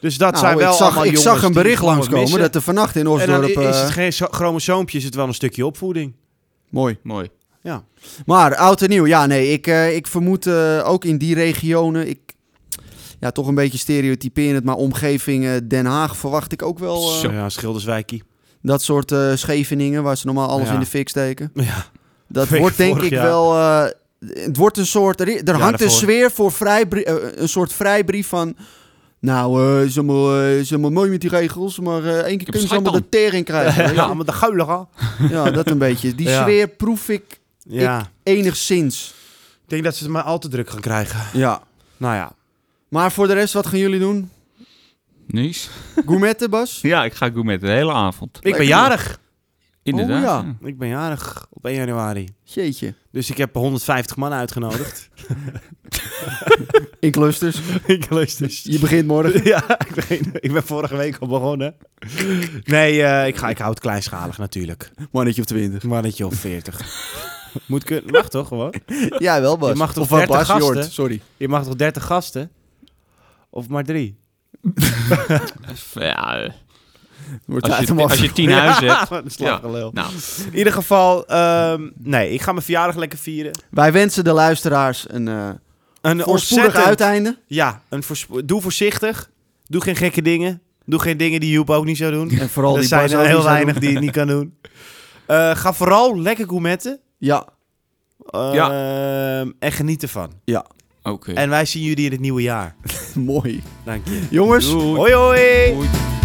dus dat Nou, zijn wel ik zag, allemaal ik jongens zag een die bericht gewoon langskomen missen. dat er vannacht en in dan Osdorp... is eh, het geen zo- chromosoompje, is het wel een stukje opvoeding. mooi. Mooi. Maar oud en nieuw, ja, nee, ik, eh, ik vermoed eh, ook in die regionen, ik, ja, toch een beetje stereotyperend, maar omgeving eh, Den Haag verwacht ik ook wel eh, Zo. Ja, Schilderswijkie. dat soort eh, Scheveningen waar ze normaal alles Ja. in de fik steken. Ja. Dat Weet wordt je, denk vorig ik jaar. wel, eh, het wordt een soort, er, er Ja, hangt een daarvoor. sfeer voor vrijbrie- eh, een soort vrijbrief van, nou, eh is, allemaal, eh, is allemaal mooi met die regels, maar eh, één keer heb kunnen ze schijt allemaal de tering krijgen. Ja, maar de guilige. ja, dat een beetje. Die Ja. sfeer proef ik Ja, ik... enigszins. denk dat ze het maar al te druk gaan krijgen. Ja. Nou ja. Maar voor de rest, wat gaan jullie doen? Niks. Gourmetten, Bas? Ja, ik ga gourmetten de hele avond. Ik ben Lekker. jarig. Oh, Inderdaad. ja. ja. Ik ben jarig op 1 januari. Jeetje. Dus ik heb 150 man uitgenodigd. In clusters. ik luister. Je begint morgen. Ja, ik ben, ik ben vorige week al begonnen. Nee, eh, ik, ga, ik hou het kleinschalig natuurlijk. Mannetje of twintig. Een mannetje of 40. Moet kunnen, mag toch gewoon? Ja, wel Bas. Je mag toch of wat 30 Bas, gasten? Jort, Sorry. Je mag toch 30 gasten? Of maar drie? Ja, eh, Wordt als, tijd je, om af als te- je tien huizen hebt. Wat een slaggelul. Nou, In ieder geval, ehm, nee, ik ga mijn verjaardag lekker vieren. Wij wensen de luisteraars een eh Een voorspoedig ontzettend... uiteinde. Ja, een voorspo- doe voorzichtig. Doe geen gekke dingen. Doe geen dingen die Joep ook niet zou doen. En vooral er die zijn Bas er ook heel niet zo weinig die het niet kan doen. Eh, ga vooral lekker gourmetten. doen. Ja. Ja. Ehm, En geniet ervan. Nou, oké. En wij zien jullie in het nieuwe jaar. Mooi. Dank je. Jongens. Doei. Hoi hoi! Doei.